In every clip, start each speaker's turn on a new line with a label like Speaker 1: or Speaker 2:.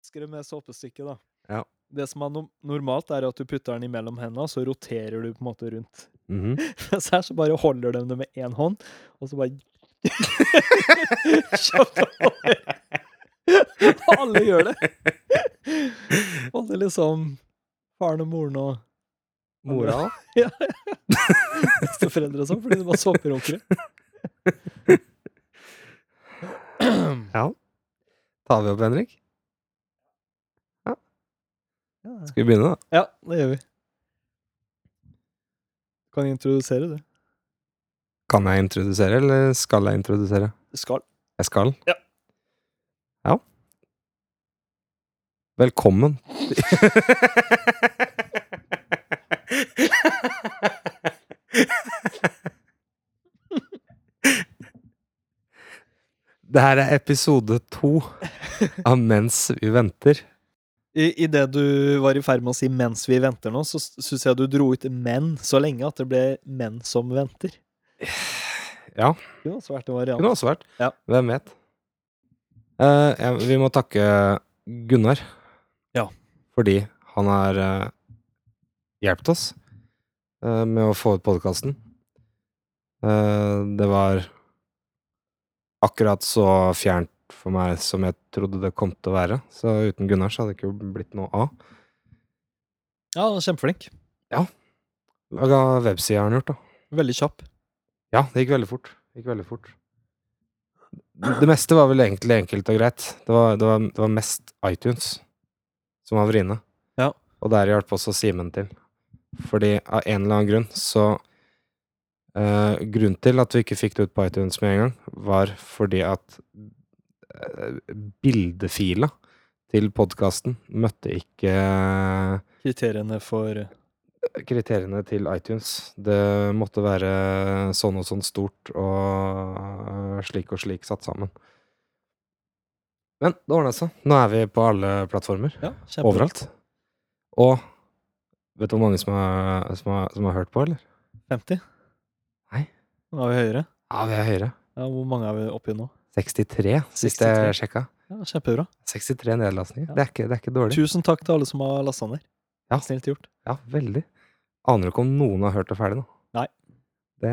Speaker 1: raskere med såpestykket, da.
Speaker 2: Ja.
Speaker 1: Det som er no normalt, er at du putter den imellom hendene, så roterer du på en måte rundt.
Speaker 2: Mhm.
Speaker 1: Mens her så bare holder de det med én hånd, og så bare Kjapt over. Og alle gjør det. Både liksom faren og moren og
Speaker 2: Mora òg?
Speaker 1: besteforeldre og sånn, fordi de var såperunkere.
Speaker 2: Ja. Tar vi opp, Henrik? Skal vi begynne, da?
Speaker 1: Ja, det gjør vi. Kan introdusere det.
Speaker 2: Kan jeg introdusere, eller skal jeg introdusere?
Speaker 1: Skal.
Speaker 2: Jeg skal.
Speaker 1: Ja.
Speaker 2: Ja. Velkommen. Det her er episode to av Mens vi venter.
Speaker 1: I, i det du var i ferd med å si 'mens vi venter' nå, så syns jeg du dro ut 'menn' så lenge at det ble 'menn som venter'.
Speaker 2: Ja.
Speaker 1: Det kunne også vært en
Speaker 2: Det kunne
Speaker 1: variant.
Speaker 2: også vært.
Speaker 1: Ja.
Speaker 2: Hvem vet? Eh, ja, vi må takke Gunnar.
Speaker 1: Ja.
Speaker 2: Fordi han har eh, hjulpet oss eh, med å få ut podkasten. det var akkurat så fjernt for meg som jeg trodde det kom til å være. Så uten Gunnar så hadde det ikke blitt noe av.
Speaker 1: Ja, han er kjempeflink.
Speaker 2: Laga webside har han gjort, da.
Speaker 1: Veldig kjapp.
Speaker 2: Ja, det gikk veldig fort. Det gikk veldig fort. Det meste var vel egentlig enkelt og greit. Det var, det var, det var mest iTunes som var vriene.
Speaker 1: Ja.
Speaker 2: Og der hjalp også Simen til. Fordi av en eller annen grunn så eh, Grunnen til at vi ikke fikk det ut på iTunes med en gang, var fordi at eh, bildefila til podkasten møtte ikke
Speaker 1: Kriteriene for
Speaker 2: kriteriene til iTunes. Det måtte være sånn og sånn stort og slik og slik satt sammen. Men det ordna seg. Nå er vi på alle plattformer.
Speaker 1: Ja, kjempe.
Speaker 2: Overalt. Og vet du hvor mange som har, som har, som har hørt på, eller?
Speaker 1: 50?
Speaker 2: Nei.
Speaker 1: Nå er vi høyere.
Speaker 2: Ja, vi er høyere.
Speaker 1: Ja, hvor mange er vi oppi nå?
Speaker 2: 63, sist jeg
Speaker 1: 63.
Speaker 2: sjekka.
Speaker 1: Ja, kjempebra.
Speaker 2: 63 nedlastninger.
Speaker 1: Ja.
Speaker 2: Det, er ikke, det er ikke dårlig.
Speaker 1: Tusen takk til alle som har lasta ned.
Speaker 2: Ja.
Speaker 1: Snilt gjort.
Speaker 2: Ja, veldig. Aner ikke om noen har hørt det ferdig nå.
Speaker 1: Nei.
Speaker 2: Det,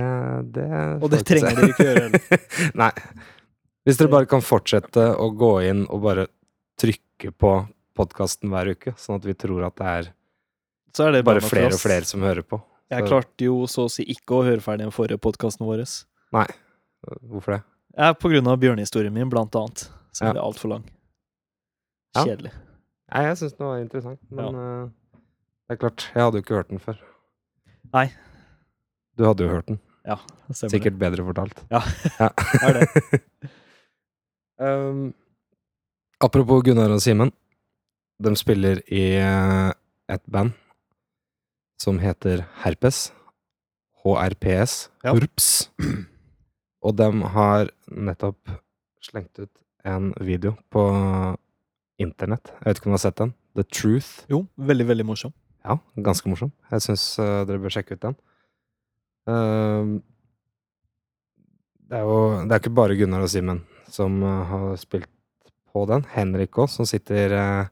Speaker 2: det
Speaker 1: Og det
Speaker 2: får vi ikke se.
Speaker 1: trenger dere ikke gjøre heller.
Speaker 2: Nei. Hvis dere bare kan fortsette å gå inn og bare trykke på podkasten hver uke, sånn at vi tror at det er
Speaker 1: Så er det
Speaker 2: bare
Speaker 1: bra nok for
Speaker 2: flere og
Speaker 1: oss.
Speaker 2: flere som hører på.
Speaker 1: Jeg
Speaker 2: Så-
Speaker 1: klarte jo så å si ikke å høre ferdig den forrige podkasten vår.
Speaker 2: Hvorfor det?
Speaker 1: Ja, på grunn av bjørnehistorien min, blant annet. Så
Speaker 2: Ja.
Speaker 1: ble det altfor lang.
Speaker 2: Ja.
Speaker 1: Kjedelig.
Speaker 2: Nei, jeg syns den var interessant, men eh, det er klart, jeg hadde jo ikke hørt den før.
Speaker 1: Nei.
Speaker 2: Du hadde jo hørt den.
Speaker 1: Det stemmer.
Speaker 2: Sikkert bedre fortalt.
Speaker 1: Ja. Er det.
Speaker 2: Um, apropos Gunnar og Simen. De spiller i eh, et band som heter Herpes. HRPS.
Speaker 1: Ja.
Speaker 2: Hurps. Og de har nettopp slengt ut en video på internett. Jeg vet ikke om du har sett den? The Truth.
Speaker 1: Jo, veldig, veldig morsom.
Speaker 2: Ja, ganske morsom. Jeg syns dere bør sjekke ut den. Ehm, det er jo Det er ikke bare Gunnar og Simen som eh, har spilt på den. Henrik òg, som sitter eh,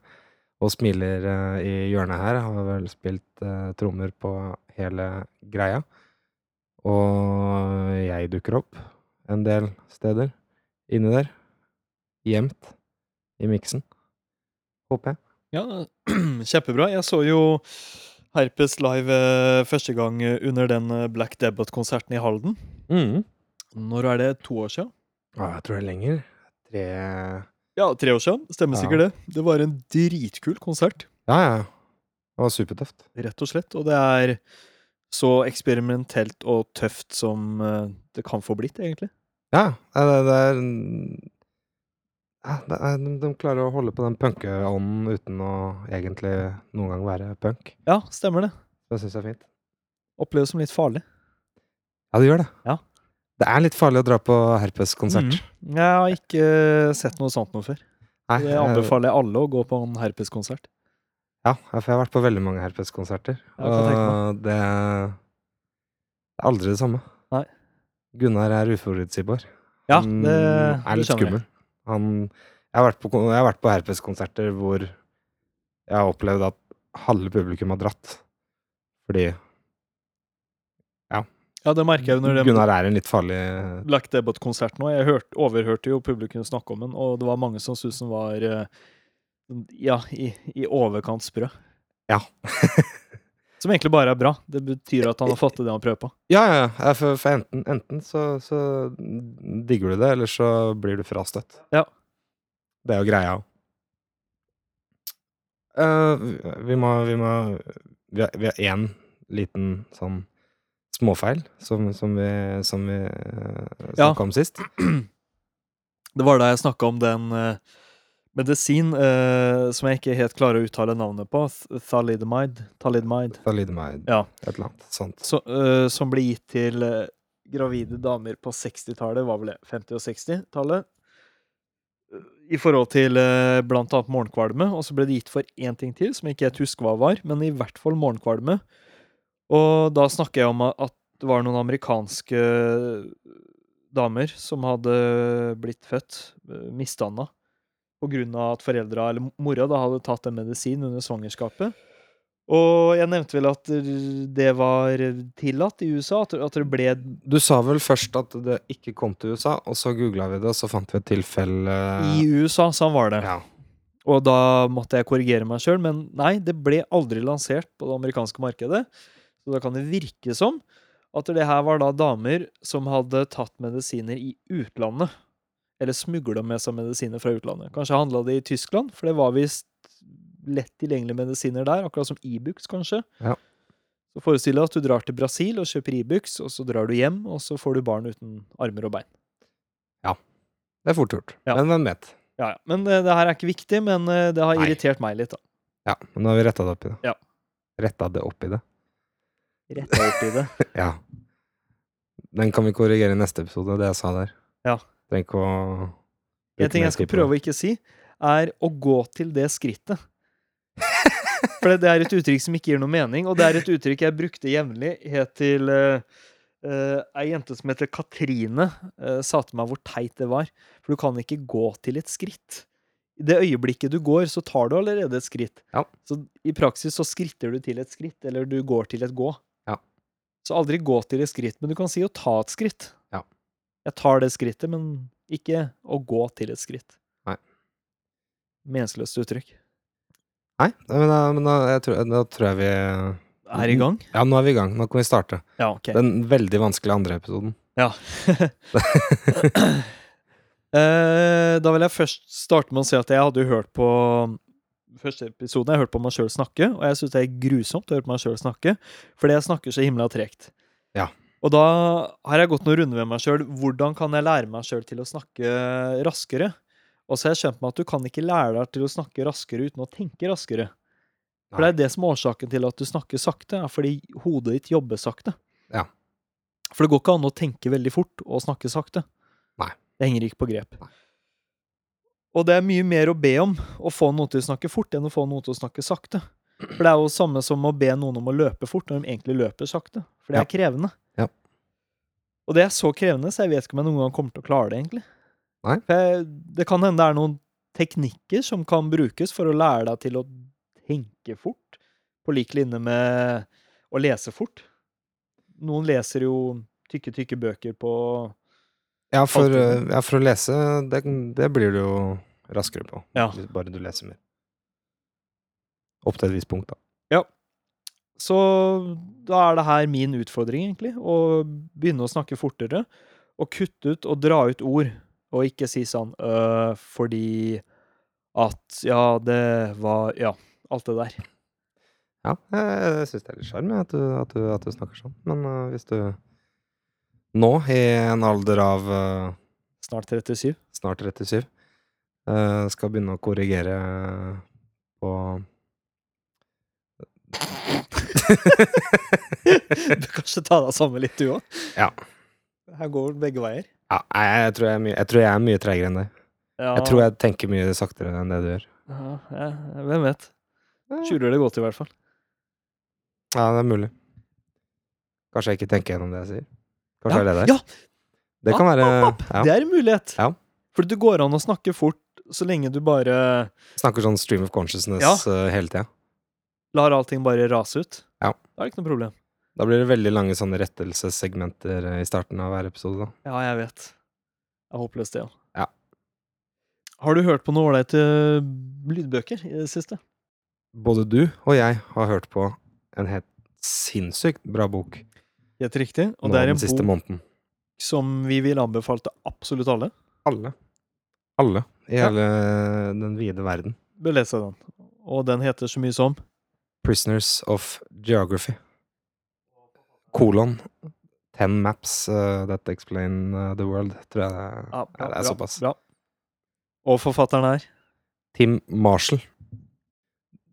Speaker 2: og smiler eh, i hjørnet her, har vel spilt eh, trommer på hele greia. Og jeg dukker opp en del steder inni der. Gjemt i miksen, håper jeg.
Speaker 1: Ja, kjempebra. Jeg så jo Herpes live eh, første gang eh, under den eh, Black Debate-konserten i Halden. Når er det? To år siden?
Speaker 2: Ja, jeg tror det er lenger. Tre
Speaker 1: Ja, tre år siden. Stemmer
Speaker 2: Ja.
Speaker 1: sikkert det. Det var en dritkul konsert.
Speaker 2: Ja, ja. Det var supertøft.
Speaker 1: rett og slett. Og det er så eksperimentelt og tøft som eh, det kan få blitt, egentlig.
Speaker 2: Ja, ja. det, det er ja, det er, de, de klarer å holde på den punkeånden uten å egentlig noen gang være punk.
Speaker 1: Ja, stemmer det.
Speaker 2: Det syns jeg er fint.
Speaker 1: Oppleves som litt farlig.
Speaker 2: Ja, det gjør det.
Speaker 1: Ja.
Speaker 2: Det er litt farlig å dra på herpeskonsert.
Speaker 1: Mm. Jeg har ikke eh, sett noe sånt noe før.
Speaker 2: Nei, eh,
Speaker 1: Det
Speaker 2: jeg-
Speaker 1: anbefaler jeg alle å gå på en herpeskonsert.
Speaker 2: Ja, for jeg har vært på veldig mange herpeskonserter,
Speaker 1: Ja, jeg kan tenke
Speaker 2: og det er aldri det samme.
Speaker 1: Nei.
Speaker 2: Gunnar er uforutsigbar.
Speaker 1: Ja,
Speaker 2: Han
Speaker 1: det,
Speaker 2: Mm, er
Speaker 1: det skjønner
Speaker 2: litt
Speaker 1: jeg.
Speaker 2: skummel. Han Jeg har vært på, kon- jeg har vært på herpeskonserter hvor jeg har opplevd at halve publikum har dratt. Fordi
Speaker 1: Ja, det merker jeg under den
Speaker 2: Gunnar er en litt farlig
Speaker 1: Black Debot-konsert nå. Jeg hørte, overhørte jo publikum snakke om den, og det var mange som syntes den var eh, ja, i, i overkant sprø.
Speaker 2: Ja.
Speaker 1: Som egentlig bare er bra. Det betyr at han har fått til det han prøver på.
Speaker 2: Ja, ja, ja. ja. For, for enten, enten så, så digger du det, eller så blir du frastøtt.
Speaker 1: Ja.
Speaker 2: Det er jo greia òg. vi må Vi må Vi har- vi har én liten sånn småfeil som, som vi, som vi eh,
Speaker 1: Ja.
Speaker 2: snakka om sist.
Speaker 1: Det var da jeg snakka om den eh, medisin eh, som jeg ikke helt klarer å uttale navnet på, th- thalidomide, thalidomide
Speaker 2: Da lyder meg
Speaker 1: Ja.
Speaker 2: et eller annet sånt.
Speaker 1: så, eh, som ble gitt til eh, gravide damer på 60-tallet, var vel det 50- og 60-tallet, eh, i forhold til eh, blant annet morgenkvalme. Og så ble det gitt for én ting til, som jeg ikke helt husker hva var, men i hvert fall morgenkvalme. Og da snakker jeg om a- at det var noen amerikanske damer som hadde blitt født eh, misdanna på grunn av at foreldra, eller mora, da hadde tatt en medisin under svangerskapet. Og jeg nevnte vel at det var tillatt i USA, at- at det ble
Speaker 2: Du sa vel først at det ikke kom til USA, og så googla vi det, og så fant vi et tilfelle
Speaker 1: i USA, så han var det.
Speaker 2: ja.
Speaker 1: Og da måtte jeg korrigere meg sjøl, men nei, det ble aldri lansert på det amerikanske markedet. Så da kan det virke som at det her var da damer som hadde tatt medisiner i utlandet. Eller smugla med seg medisiner fra utlandet. Kanskje handla det i Tyskland, for det var visst lett tilgjengelige medisiner der, akkurat som Ibux, kanskje.
Speaker 2: Ja.
Speaker 1: Så forestill deg at du drar til Brasil og kjøper Ibux, og så drar du hjem, og så får du barn uten armer og bein.
Speaker 2: Det er fort gjort.
Speaker 1: Ja.
Speaker 2: Men hvem vet?
Speaker 1: Ja, ja. Men eh, det her er ikke viktig, men eh, det har
Speaker 2: Nei.
Speaker 1: irritert meg litt, da.
Speaker 2: Ja, men nå har vi retta det opp i det.
Speaker 1: Ja.
Speaker 2: Retta det opp i det.
Speaker 1: Retta opp i det.
Speaker 2: Ja. Den kan vi korrigere i neste episode, det jeg sa der.
Speaker 1: Ja.
Speaker 2: Trenger ikke å
Speaker 1: En ting jeg skal prøve å ikke si, er å gå til det skrittet. For det er et uttrykk som ikke gir noe mening, og det er et uttrykk jeg brukte jevnlig helt til eh, eh, ei jente som heter Katrine, eh, sa til meg hvor teit det var. For du kan ikke gå til et skritt. I det øyeblikket du går, så tar du allerede et skritt.
Speaker 2: Ja.
Speaker 1: Så i praksis så skritter du til et skritt, eller du går til et gå.
Speaker 2: Ja.
Speaker 1: Så aldri gå til et skritt, men du kan si å ta et skritt.
Speaker 2: Ja.
Speaker 1: Jeg tar det skrittet, men ikke å gå til et skritt.
Speaker 2: Nei.
Speaker 1: Meningsløst uttrykk.
Speaker 2: Nei, nei, men, da, men da, jeg tror, da tror jeg vi
Speaker 1: Er i gang?
Speaker 2: Ja, nå er vi i gang. Nå kan vi starte.
Speaker 1: Ja, ok.
Speaker 2: Den veldig vanskelige andre episoden.
Speaker 1: Ja. Eh, da vil jeg først starte med å si at jeg hadde jo hørt på um, Første episoden jeg hørte på meg sjøl snakke, og jeg syns det er grusomt å høre på meg sjøl snakke, fordi jeg snakker så himla tregt.
Speaker 2: Ja.
Speaker 1: Og da har jeg gått noen runder med meg sjøl. Hvordan kan jeg lære meg sjøl til å snakke raskere? Og så har jeg skjønt meg at du kan ikke lære deg til å snakke raskere uten å tenke raskere. For det
Speaker 2: Nei.
Speaker 1: er det som er årsaken til at du snakker sakte, er fordi hodet ditt jobber sakte.
Speaker 2: Ja.
Speaker 1: For det går ikke an å tenke veldig fort og snakke sakte.
Speaker 2: Nei.
Speaker 1: Det henger ikke på grep.
Speaker 2: Nei.
Speaker 1: Og det er mye mer å be om å få noen til å snakke fort enn å få noen til å snakke sakte. For det er jo samme som å be noen om å løpe fort når de egentlig løper sakte. For det er krevende.
Speaker 2: Ja.
Speaker 1: Og det er så krevende, så jeg vet ikke om jeg noen gang kommer til å klare det, egentlig.
Speaker 2: Nei.
Speaker 1: For jeg, det kan hende det er noen teknikker som kan brukes for å lære deg til å tenke fort, på lik linje med å lese fort. Noen leser jo tykke, tykke bøker på
Speaker 2: Ja, for,
Speaker 1: Alltid.
Speaker 2: eh, ja, for å lese, det, det blir du jo raskere på.
Speaker 1: Ja.
Speaker 2: Hvis Bare du leser mer. Opp til et visst punkt, da.
Speaker 1: Så da er det her min utfordring, egentlig. Å begynne å snakke fortere. Og kutte ut og dra ut ord. Og ikke si sånn øh, fordi at Ja, det var Ja. Alt det der.
Speaker 2: Ja, jeg, jeg syns det er litt sjarm jeg, at, du- at, du- at du snakker sånn. Men øh, hvis du nå, i en alder av øh,
Speaker 1: Snart 37.
Speaker 2: snart 37, øh, skal begynne å korrigere på
Speaker 1: Du kanskje ta deg sammen litt, du òg?
Speaker 2: Ja.
Speaker 1: Her går det begge veier.
Speaker 2: ja, nei, jeg, tror jeg, er mye, jeg tror jeg er mye treigere enn deg.
Speaker 1: Ja.
Speaker 2: Jeg tror jeg tenker mye saktere enn det du gjør.
Speaker 1: ja, ja, Hvem vet? Skjuler det godt, i hvert fall.
Speaker 2: Ja, det er mulig. Kanskje jeg ikke tenker gjennom det jeg sier. Kanskje
Speaker 1: ja,
Speaker 2: er det der.
Speaker 1: ja,
Speaker 2: Det kan være
Speaker 1: app, app.
Speaker 2: ja.
Speaker 1: Det er en mulighet.
Speaker 2: Ja.
Speaker 1: For det går an å snakke fort så lenge du bare
Speaker 2: Snakker sånn stream of consciousness
Speaker 1: Ja.
Speaker 2: eh, hele tida.
Speaker 1: lar allting bare rase ut,
Speaker 2: Ja.
Speaker 1: da er det ikke noe problem.
Speaker 2: Da blir det veldig lange sånne rettelsessegmenter eh, i starten av hver episode. da.
Speaker 1: Ja, jeg vet. Det er håpløst, det òg.
Speaker 2: Ja.
Speaker 1: Har du hørt på noen ålreite lydbøker i det siste?
Speaker 2: Både du og jeg har hørt på en helt sinnssykt bra bok
Speaker 1: Helt riktig. Og
Speaker 2: nå
Speaker 1: det er
Speaker 2: den
Speaker 1: en
Speaker 2: siste
Speaker 1: bok
Speaker 2: måneden.
Speaker 1: som vi vil anbefale til absolutt alle.
Speaker 2: Alle. Alle. I
Speaker 1: Ja.
Speaker 2: hele den vide verden.
Speaker 1: Bør lese den. Og den heter så mye som
Speaker 2: Prisoners of Geography. Kolon. Ten maps eh, that explain eh, the world, tror jeg det er.
Speaker 1: Ja, bra,
Speaker 2: det er
Speaker 1: bra,
Speaker 2: såpass.
Speaker 1: Bra. Og forfatteren er
Speaker 2: Tim Marshall.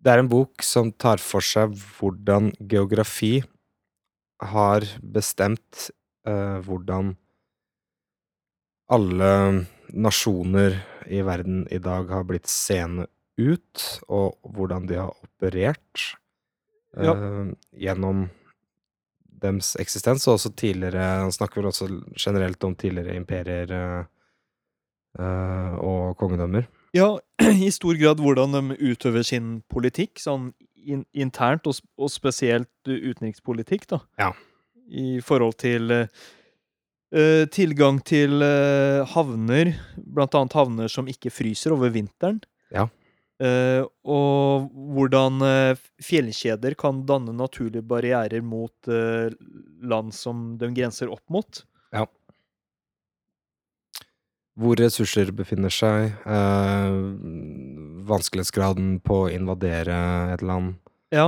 Speaker 2: Det er en bok som tar for seg hvordan geografi har bestemt eh, hvordan alle nasjoner i verden i dag har blitt seende ut, og hvordan de har operert eh,
Speaker 1: Ja.
Speaker 2: gjennom dems eksistens, og også tidligere Han snakker vel også generelt om tidligere imperier eh, eh, og kongedømmer.
Speaker 1: Ja, i stor grad hvordan de utøver sin politikk, sånn in internt, og, s- og spesielt utenrikspolitikk, da.
Speaker 2: Ja.
Speaker 1: I forhold til eh, eh, tilgang til eh, havner, blant annet havner som ikke fryser over vinteren.
Speaker 2: Ja.
Speaker 1: Eh, og hvordan eh, fjellkjeder kan danne naturlige barrierer mot eh, land som de grenser opp mot.
Speaker 2: hvor ressurser befinner seg, eh, vanskelighetsgraden på å invadere et land,
Speaker 1: Ja.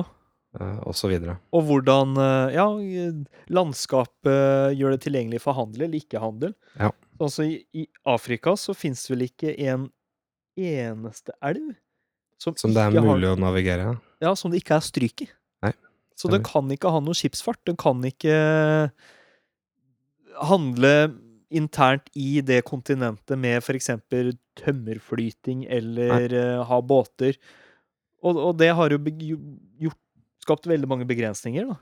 Speaker 2: eh, og så videre.
Speaker 1: Og hvordan eh, ja, eh, landskapet gjør det tilgjengelig for handel eller ikke-handel.
Speaker 2: Ja.
Speaker 1: Altså, i, I Afrika så fins vel ikke en eneste elv som,
Speaker 2: Som det er
Speaker 1: ikke
Speaker 2: mulig
Speaker 1: har,
Speaker 2: å navigere.
Speaker 1: ja, som det ikke er stryk i.
Speaker 2: Nei,
Speaker 1: så den
Speaker 2: stemmer.
Speaker 1: kan ikke ha noe skipsfart. Den kan ikke handle internt i det kontinentet med f.eks. tømmerflyting eller eh, ha båter. Og, og det har jo beg- gjort, skapt veldig mange begrensninger, da.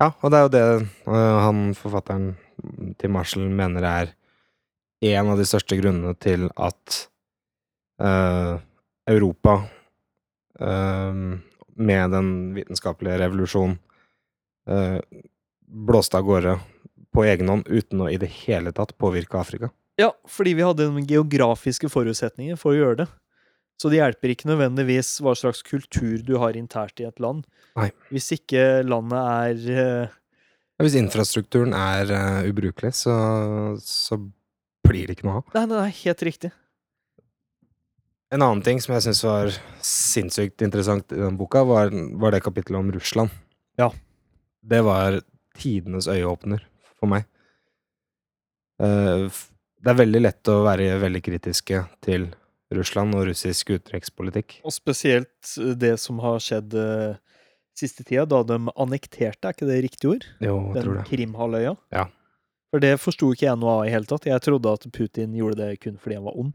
Speaker 2: Ja, og det er jo det eh, han forfatteren til Marshall mener er en av de største grunnene til at eh, Europa eh, med den vitenskapelige revolusjonen eh, blåste av gårde på egen hånd uten å i det hele tatt påvirke Afrika.
Speaker 1: Ja, fordi vi hadde de geografiske forutsetninger for å gjøre det. Så det hjelper ikke nødvendigvis hva slags kultur du har internt i et land.
Speaker 2: Nei.
Speaker 1: Hvis ikke landet er eh,
Speaker 2: Ja, Hvis infrastrukturen er eh, ubrukelig, så, så blir det ikke noe av.
Speaker 1: Nei, nei, nei, helt riktig.
Speaker 2: En annen ting som jeg syns var sinnssykt interessant i den boka, var, var det kapittelet om Russland.
Speaker 1: Ja.
Speaker 2: Det var tidenes øyeåpner for meg. Eh, f- Det er veldig lett å være veldig kritiske til Russland og russisk utenrikspolitikk.
Speaker 1: Og spesielt eh, det som har skjedd eh, siste tida, da de annekterte, er ikke det riktig ord?
Speaker 2: Jo, jeg tror
Speaker 1: Den
Speaker 2: det.
Speaker 1: Krimhalvøya.
Speaker 2: Ja.
Speaker 1: For det forsto ikke jeg noe av i hele tatt. Jeg trodde at Putin gjorde det kun fordi han var ond.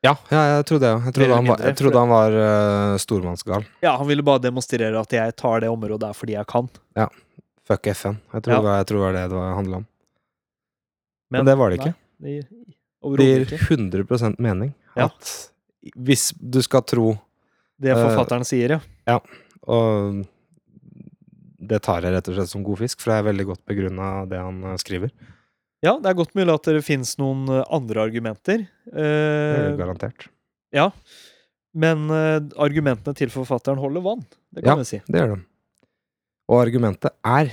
Speaker 2: Ja, ja jeg trodde det. Jeg
Speaker 1: Mer
Speaker 2: trodde
Speaker 1: eller
Speaker 2: han var,
Speaker 1: mindre,
Speaker 2: jeg trodde
Speaker 1: for-
Speaker 2: han var eh, stormannsgal.
Speaker 1: Ja, han ville bare demonstrere at jeg tar det området der fordi jeg kan.
Speaker 2: Fuck FN. Jeg tror,
Speaker 1: Ja.
Speaker 2: det, var, jeg tror det var det det handla om.
Speaker 1: Men
Speaker 2: Men det var det ikke.
Speaker 1: Nei, det,
Speaker 2: Det
Speaker 1: overhodet
Speaker 2: gir
Speaker 1: ikke.
Speaker 2: 100 mening
Speaker 1: Ja.
Speaker 2: at hvis du skal tro
Speaker 1: Det
Speaker 2: eh,
Speaker 1: forfatteren sier, ja.
Speaker 2: Og det tar jeg rett og slett som god fisk, for det er veldig godt begrunna det han eh, skriver.
Speaker 1: Ja, det er godt mulig at det finnes noen eh, andre argumenter.
Speaker 2: Det
Speaker 1: Eh,
Speaker 2: er jo garantert.
Speaker 1: ja. Men eh, argumentene til forfatteren holder vann. Det kan vi si.
Speaker 2: Det gjør de. Og argumentet er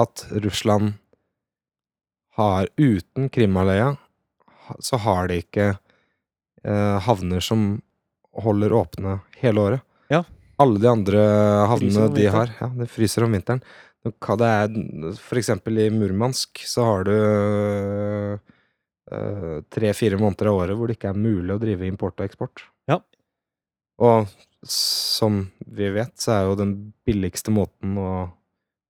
Speaker 2: at Russland har Uten Krimhalvøya ha- så har de ikke eh, havner som holder åpne hele året.
Speaker 1: Ja.
Speaker 2: Alle de andre
Speaker 1: Fryser
Speaker 2: havnene
Speaker 1: om
Speaker 2: de
Speaker 1: vinteren.
Speaker 2: har, ja, det fryser om vinteren. Det kan- det er, for eksempel i Murmansk så har du eh, tre-fire måneder av året hvor det ikke er mulig å drive import og eksport.
Speaker 1: Ja.
Speaker 2: Og som vi vet, så er jo den billigste måten å,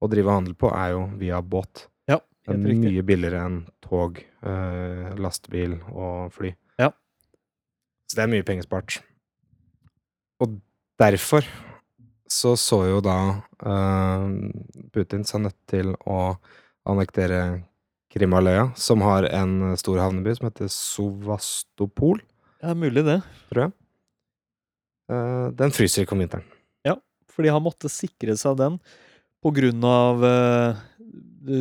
Speaker 2: å drive handel på, er jo via båt.
Speaker 1: Ja,
Speaker 2: Det
Speaker 1: helt
Speaker 2: er
Speaker 1: riktig.
Speaker 2: mye billigere enn tog, eh, lastebil og fly.
Speaker 1: Ja.
Speaker 2: Så det er mye pengespart. Og derfor så så jo da eh, Putin seg nødt til å annektere Krimhalvøya, eh, som har en stor havneby som heter Sovastopol.
Speaker 1: Det er mulig, det.
Speaker 2: Tror jeg. Eh, den fryser ikke om vinteren.
Speaker 1: Fordi han måtte sikre seg den på grunn av eh, det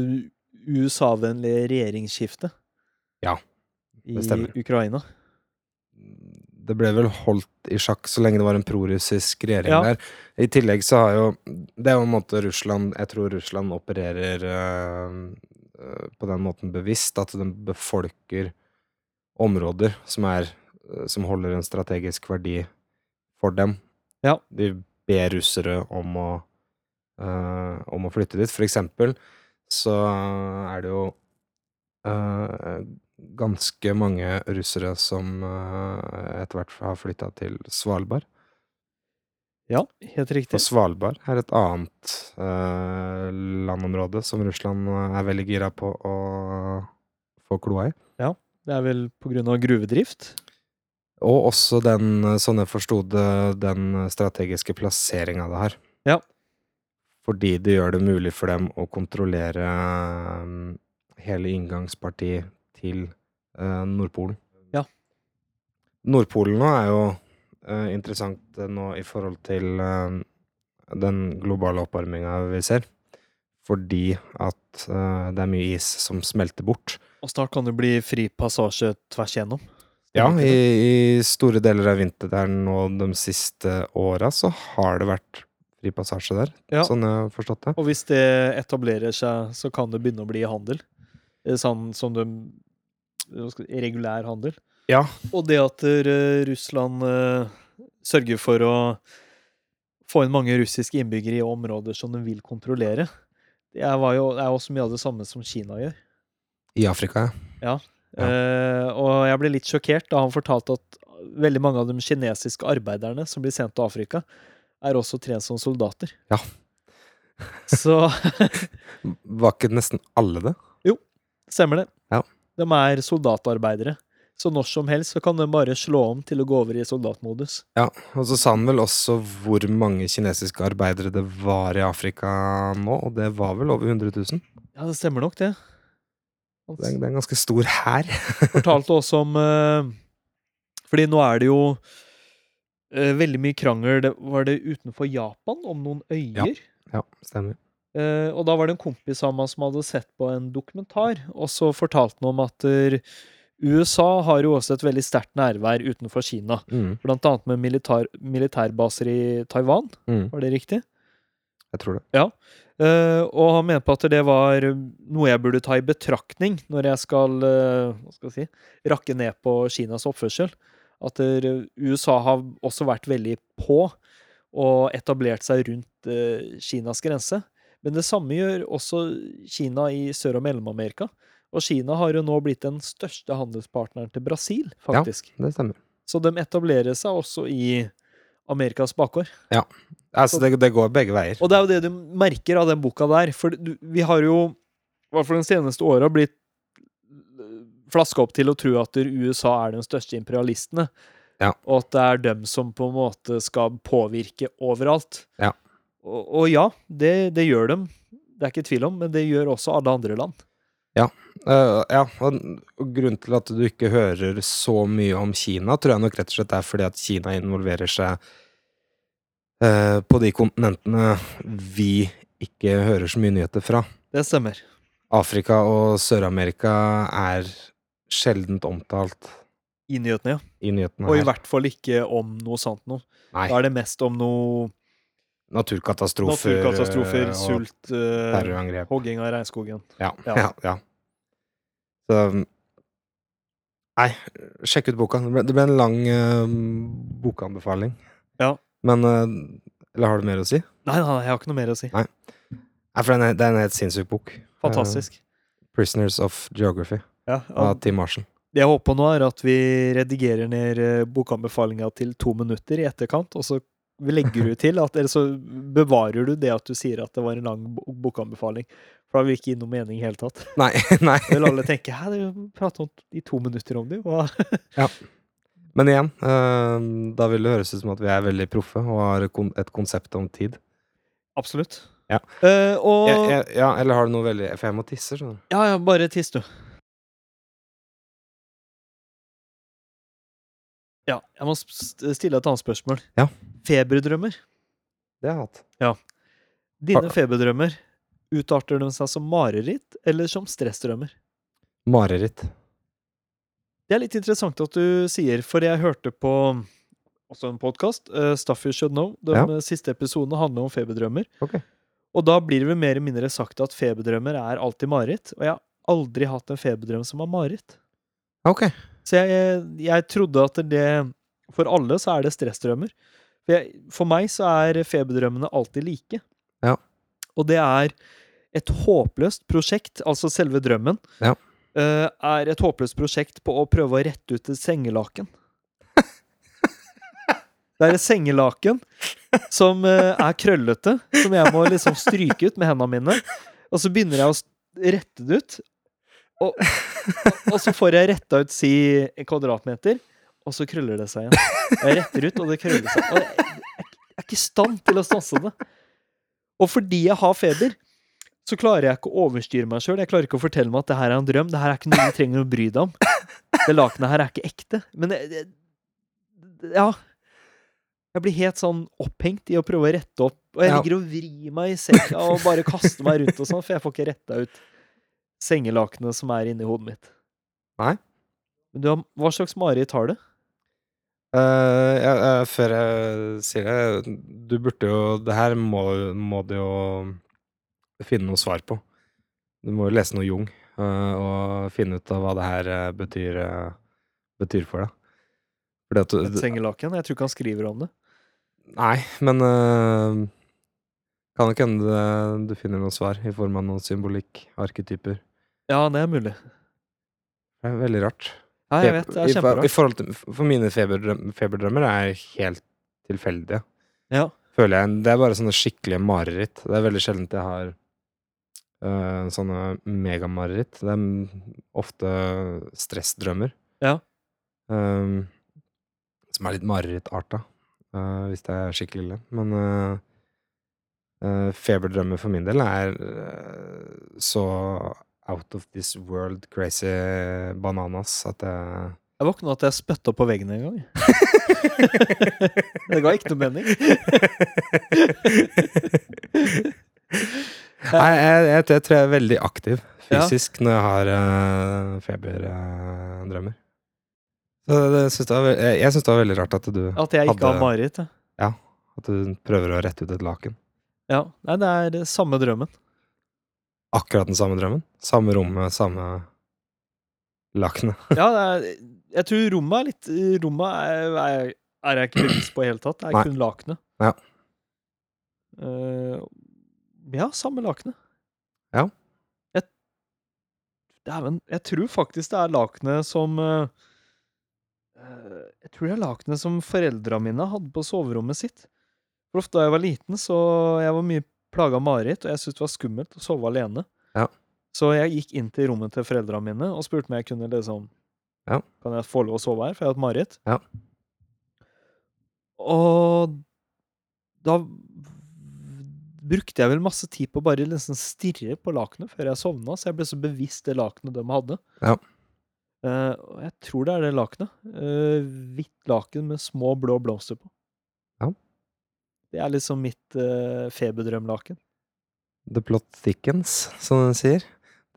Speaker 1: USA-vennlige regjeringsskiftet.
Speaker 2: Ja,
Speaker 1: I
Speaker 2: stemmer.
Speaker 1: Ukraina.
Speaker 2: det ble vel holdt i sjakk så lenge det var en prorussisk regjering
Speaker 1: Ja.
Speaker 2: der. I tillegg så har jo Det er jo en måte Russland Jeg tror Russland opererer eh, eh, på den måten bevisst, at den befolker områder som er eh, Som holder en strategisk verdi for dem.
Speaker 1: Ja.
Speaker 2: De ber russere om å eh, om å flytte dit. For eksempel så er det jo eh, ganske mange russere som eh, etter hvert har flytta til Svalbard.
Speaker 1: Ja, helt riktig.
Speaker 2: Og Svalbard er et annet eh, landområde som Russland eh, er veldig gira på å få kloa i.
Speaker 1: Det er vel på grunn av gruvedrift.
Speaker 2: Og også den, eh, sånn jeg forsto det, den strategiske plasseringa det har.
Speaker 1: Ja.
Speaker 2: Fordi det gjør det mulig for dem å kontrollere mm, hele inngangspartiet til eh, Nordpolen.
Speaker 1: Ja.
Speaker 2: Nordpolen nå er jo eh, interessant eh, nå i forhold til eh, den globale oppvarminga vi ser. Fordi at eh, det er mye is som smelter bort.
Speaker 1: Og snart kan det bli fri passasje tvers gjennom.
Speaker 2: Ja,
Speaker 1: Stemmer ikke det?
Speaker 2: i, i store deler av vinteren og de siste åra så har det vært fri passasje der,
Speaker 1: Ja.
Speaker 2: sånn jeg har forstått det.
Speaker 1: Og hvis det etablerer seg, så kan det begynne å bli handel. Eh, Sånn som de hva skal jeg si, regulær handel.
Speaker 2: Ja.
Speaker 1: Og det at eh, Russland eh, sørger for å få inn mange russiske innbyggere i områder som de vil kontrollere, det er, var jo, det er også mye av det samme som Kina gjør.
Speaker 2: I Afrika, ja. Ja.
Speaker 1: Eh, og jeg ble litt sjokkert da han fortalte at veldig mange av de kinesiske arbeiderne som blir sendt til Afrika, er også trent som soldater.
Speaker 2: Ja.
Speaker 1: Så
Speaker 2: Var ikke nesten alle det?
Speaker 1: Stemmer det.
Speaker 2: Ja.
Speaker 1: De er soldatarbeidere. Så når som helst så kan de bare slå om til å gå over i soldatmodus.
Speaker 2: Ja, og så sa han vel også hvor mange kinesiske arbeidere det var i Afrika nå, og det var vel over 100 000?
Speaker 1: Ja, det stemmer nok, det.
Speaker 2: Det er, det er en ganske stor hær.
Speaker 1: fortalte også om eh, Fordi nå er det jo eh, veldig mye krangel det- Var det utenfor Japan om noen øyer?
Speaker 2: Ja, stemmer.
Speaker 1: Eh, og da var det en kompis av meg som hadde sett på en dokumentar, og så fortalte han om at eh, USA har jo også et veldig sterkt nærvær utenfor Kina.
Speaker 2: Mm,
Speaker 1: Blant annet med militær, militærbaser i Taiwan.
Speaker 2: mm,
Speaker 1: Var det riktig?
Speaker 2: jeg tror det.
Speaker 1: Eh, og han mente på at det var noe jeg burde ta i betraktning når jeg skal, eh, hva skal jeg si, rakke ned på Kinas oppførsel. At der, USA har også vært veldig på og etablert seg rundt eh, Kinas grense. Men det samme gjør også Kina i Sør- og Mellom-Amerika. Og Kina har jo nå blitt den største handelspartneren til Brasil,
Speaker 2: Ja.
Speaker 1: faktisk.
Speaker 2: Det stemmer.
Speaker 1: Så de etablerer seg også i Amerikas bakgård.
Speaker 2: Altså, det, det går begge veier.
Speaker 1: Og det er jo det du merker av den boka der. For du, vi har jo, i hvert fall de seneste åra, blitt flaska opp til å tro at USA er den største imperialistene.
Speaker 2: Ja.
Speaker 1: Og at det er dem som på en måte skal påvirke overalt.
Speaker 2: Ja.
Speaker 1: Og, og ja, det, det gjør dem. Det er ikke tvil om, men det gjør også alle andre land.
Speaker 2: Eh, ja, og og grunnen til at du ikke hører så mye om Kina, tror jeg nok rett og slett er fordi at Kina involverer seg eh, på de kontinentene vi ikke hører så mye nyheter fra.
Speaker 1: Det stemmer.
Speaker 2: Afrika og Sør-Amerika er sjeldent omtalt
Speaker 1: I nyhetene, ja.
Speaker 2: i nyhetene
Speaker 1: Og i
Speaker 2: her.
Speaker 1: hvert fall ikke om noe sant noe.
Speaker 2: Nei,
Speaker 1: Da er det mest om noe
Speaker 2: naturkatastrofer, eh,
Speaker 1: naturkatastrofer,
Speaker 2: og
Speaker 1: sult, eh,
Speaker 2: terrorangrep.
Speaker 1: hogging av regnskogen.
Speaker 2: Ja,
Speaker 1: Ja.
Speaker 2: ja, ja. Så um, Nei, sjekk ut boka. Det ble, det ble en lang eh, bokanbefaling.
Speaker 1: Ja.
Speaker 2: Men eh, Eller har du mer å si?
Speaker 1: Nei, nei, jeg har ikke noe mer å si.
Speaker 2: Nei, for det er, en- det er en helt sinnssyk bok.
Speaker 1: Fantastisk.
Speaker 2: 'Prisoners of Geography'
Speaker 1: Ja, ja.
Speaker 2: av Tim Marshall.
Speaker 1: Det jeg håper nå, er at vi redigerer ned eh, bokanbefalinga til to minutter i etterkant, og så legger du til at Eller så bevarer du det at du sier at det var en lang bo- bokanbefaling. For da vil det ikke gi noe mening i hele tatt.
Speaker 2: Nei, nei.
Speaker 1: Da vil alle tenke Hæ, du prata i to minutter om det, hva
Speaker 2: Men igjen, eh, da vil det høres ut som at vi er veldig proffe og har kon et konsept om tid.
Speaker 1: Absolutt.
Speaker 2: Ja.
Speaker 1: Eh, og
Speaker 2: Jeg, jeg, ja, eller har du noe veldig For jeg må tisse, skjønner du.
Speaker 1: Ja, ja, bare tiss, du. Ja, jeg må sp- st- stille et annet spørsmål.
Speaker 2: Ja.
Speaker 1: Feberdrømmer.
Speaker 2: Det har jeg hatt.
Speaker 1: Dine
Speaker 2: Takk.
Speaker 1: feberdrømmer, utarter de seg som mareritt eller som stressdrømmer?
Speaker 2: Mareritt.
Speaker 1: Det er litt interessant at du sier, for jeg hørte på også en podkast, Stuff You Should Know. De
Speaker 2: Ja.
Speaker 1: eh, siste episodene handler om feberdrømmer.
Speaker 2: Ok.
Speaker 1: Og da blir det vel mer eller mindre sagt at feberdrømmer er alltid mareritt. Og jeg har aldri hatt en feberdrøm som er mareritt.
Speaker 2: Ok.
Speaker 1: Så jeg, jeg trodde at det For alle så er det stressdrømmer. For, jeg, for meg så er feberdrømmene alltid like.
Speaker 2: Ja.
Speaker 1: Og det er et håpløst prosjekt, altså selve drømmen,
Speaker 2: Ja.
Speaker 1: eh, er et håpløst prosjekt på å prøve å rette ut et sengelaken. Det er et sengelaken som eh, er krøllete, som jeg må liksom stryke ut med hendene mine. Og så begynner jeg å s- rette det ut, og så får jeg retta ut si en kvadratmeter, og så krøller det seg igjen. Jeg retter ut, og det krøller seg. Og jeg, jeg, er ikke- jeg er ikke i stand til å stanse det. Og fordi jeg har feber, så klarer jeg ikke å overstyre meg sjøl. Jeg klarer ikke å fortelle meg at det her er en drøm. Det her er ikke noe du trenger å bry deg om. Det lakenet her er ikke ekte. Men det, det, det- Ja. Jeg blir helt sånn opphengt i å prøve å rette opp. Og jeg
Speaker 2: Ja.
Speaker 1: ligger og vrir meg i senga og bare kaster meg rundt og sånn, for jeg får ikke retta ut sengelakenet som er inni hodet mitt.
Speaker 2: Nei.
Speaker 1: Men du har, hva slags mareritt har du?
Speaker 2: Eh, ja, eh, før jeg sier det, du burde jo Det her må, må du jo finne noe svar på. Du må jo lese noe Jung eh, og finne ut av hva det her eh, betyr, eh, betyr for deg. Fordi at
Speaker 1: Et
Speaker 2: du,
Speaker 1: sengelaken? Jeg tror ikke han skriver om det.
Speaker 2: Nei, men eh, kan det ikke hende det- du finner noe svar i form av noen symbolikk, arketyper.
Speaker 1: Ja, det er mulig.
Speaker 2: Det er veldig rart.
Speaker 1: Ja, jeg vet. Det er
Speaker 2: I, for- i
Speaker 1: kjemperart.
Speaker 2: forhold til, for mine feberdrøm, feberdrømmer er helt tilfeldige.
Speaker 1: Ja.
Speaker 2: Føler jeg, det er bare sånne skikkelige mareritt. Det er veldig sjeldent jeg har øh, sånne megamareritt. Det er m- ofte stressdrømmer.
Speaker 1: Ja.
Speaker 2: Ehm, som er litt marerittarta, øh, hvis det er skikkelig ille. Men øh, øh, feberdrømmer for min del er øh, så out of this world crazy bananas at jeg
Speaker 1: Jeg våkna at jeg spytta på veggen en gang. det ga ikke noe mening.
Speaker 2: Nei, jeg, jeg, jeg tror jeg er veldig aktiv fysisk når jeg har eh, feberdrømmer. Så det, det synes det var, ve- jeg jeg syns det var veldig rart at du,
Speaker 1: At jeg ikke
Speaker 2: Hadde-
Speaker 1: har mareritt. ja.
Speaker 2: at du prøver å rette ut et laken.
Speaker 1: Ja. Nei, det er det samme drømmen.
Speaker 2: Akkurat den samme drømmen. Samme rommet, samme lakenet.
Speaker 1: Ja, det er, jeg tror rommet er litt Rommet er, er, er jeg ikke bevisst på i det hele tatt. Det
Speaker 2: Nei.
Speaker 1: er kun lakenet.
Speaker 2: Ja.
Speaker 1: Eh, ja, samme lakenet.
Speaker 2: Ja.
Speaker 1: Jeg, Dæven, jeg tror faktisk det er lakenet som eh, eh, Jeg tror det er lakenet som foreldra mine hadde på soverommet sitt. For ofte da jeg var liten, så jeg var mye plaga av mareritt, og jeg syntes det var skummelt å sove alene.
Speaker 2: Ja.
Speaker 1: Så jeg gikk inn til rommet til foreldra mine og spurte om jeg kunne liksom
Speaker 2: Ja.
Speaker 1: Kan jeg få lov å sove her, for jeg har hatt mareritt.
Speaker 2: Ja.
Speaker 1: Og da brukte jeg vel masse tid på å bare liksom stirre på lakenet før jeg sovna, så jeg ble så bevisst det lakenet de hadde.
Speaker 2: Ja.
Speaker 1: Eh, og jeg tror det er det lakenet. Eh, hvitt laken med små blå blomster på.
Speaker 2: Ja.
Speaker 1: Det er liksom mitt eh, feberdrømlaken.
Speaker 2: The plot thickens, som den sier.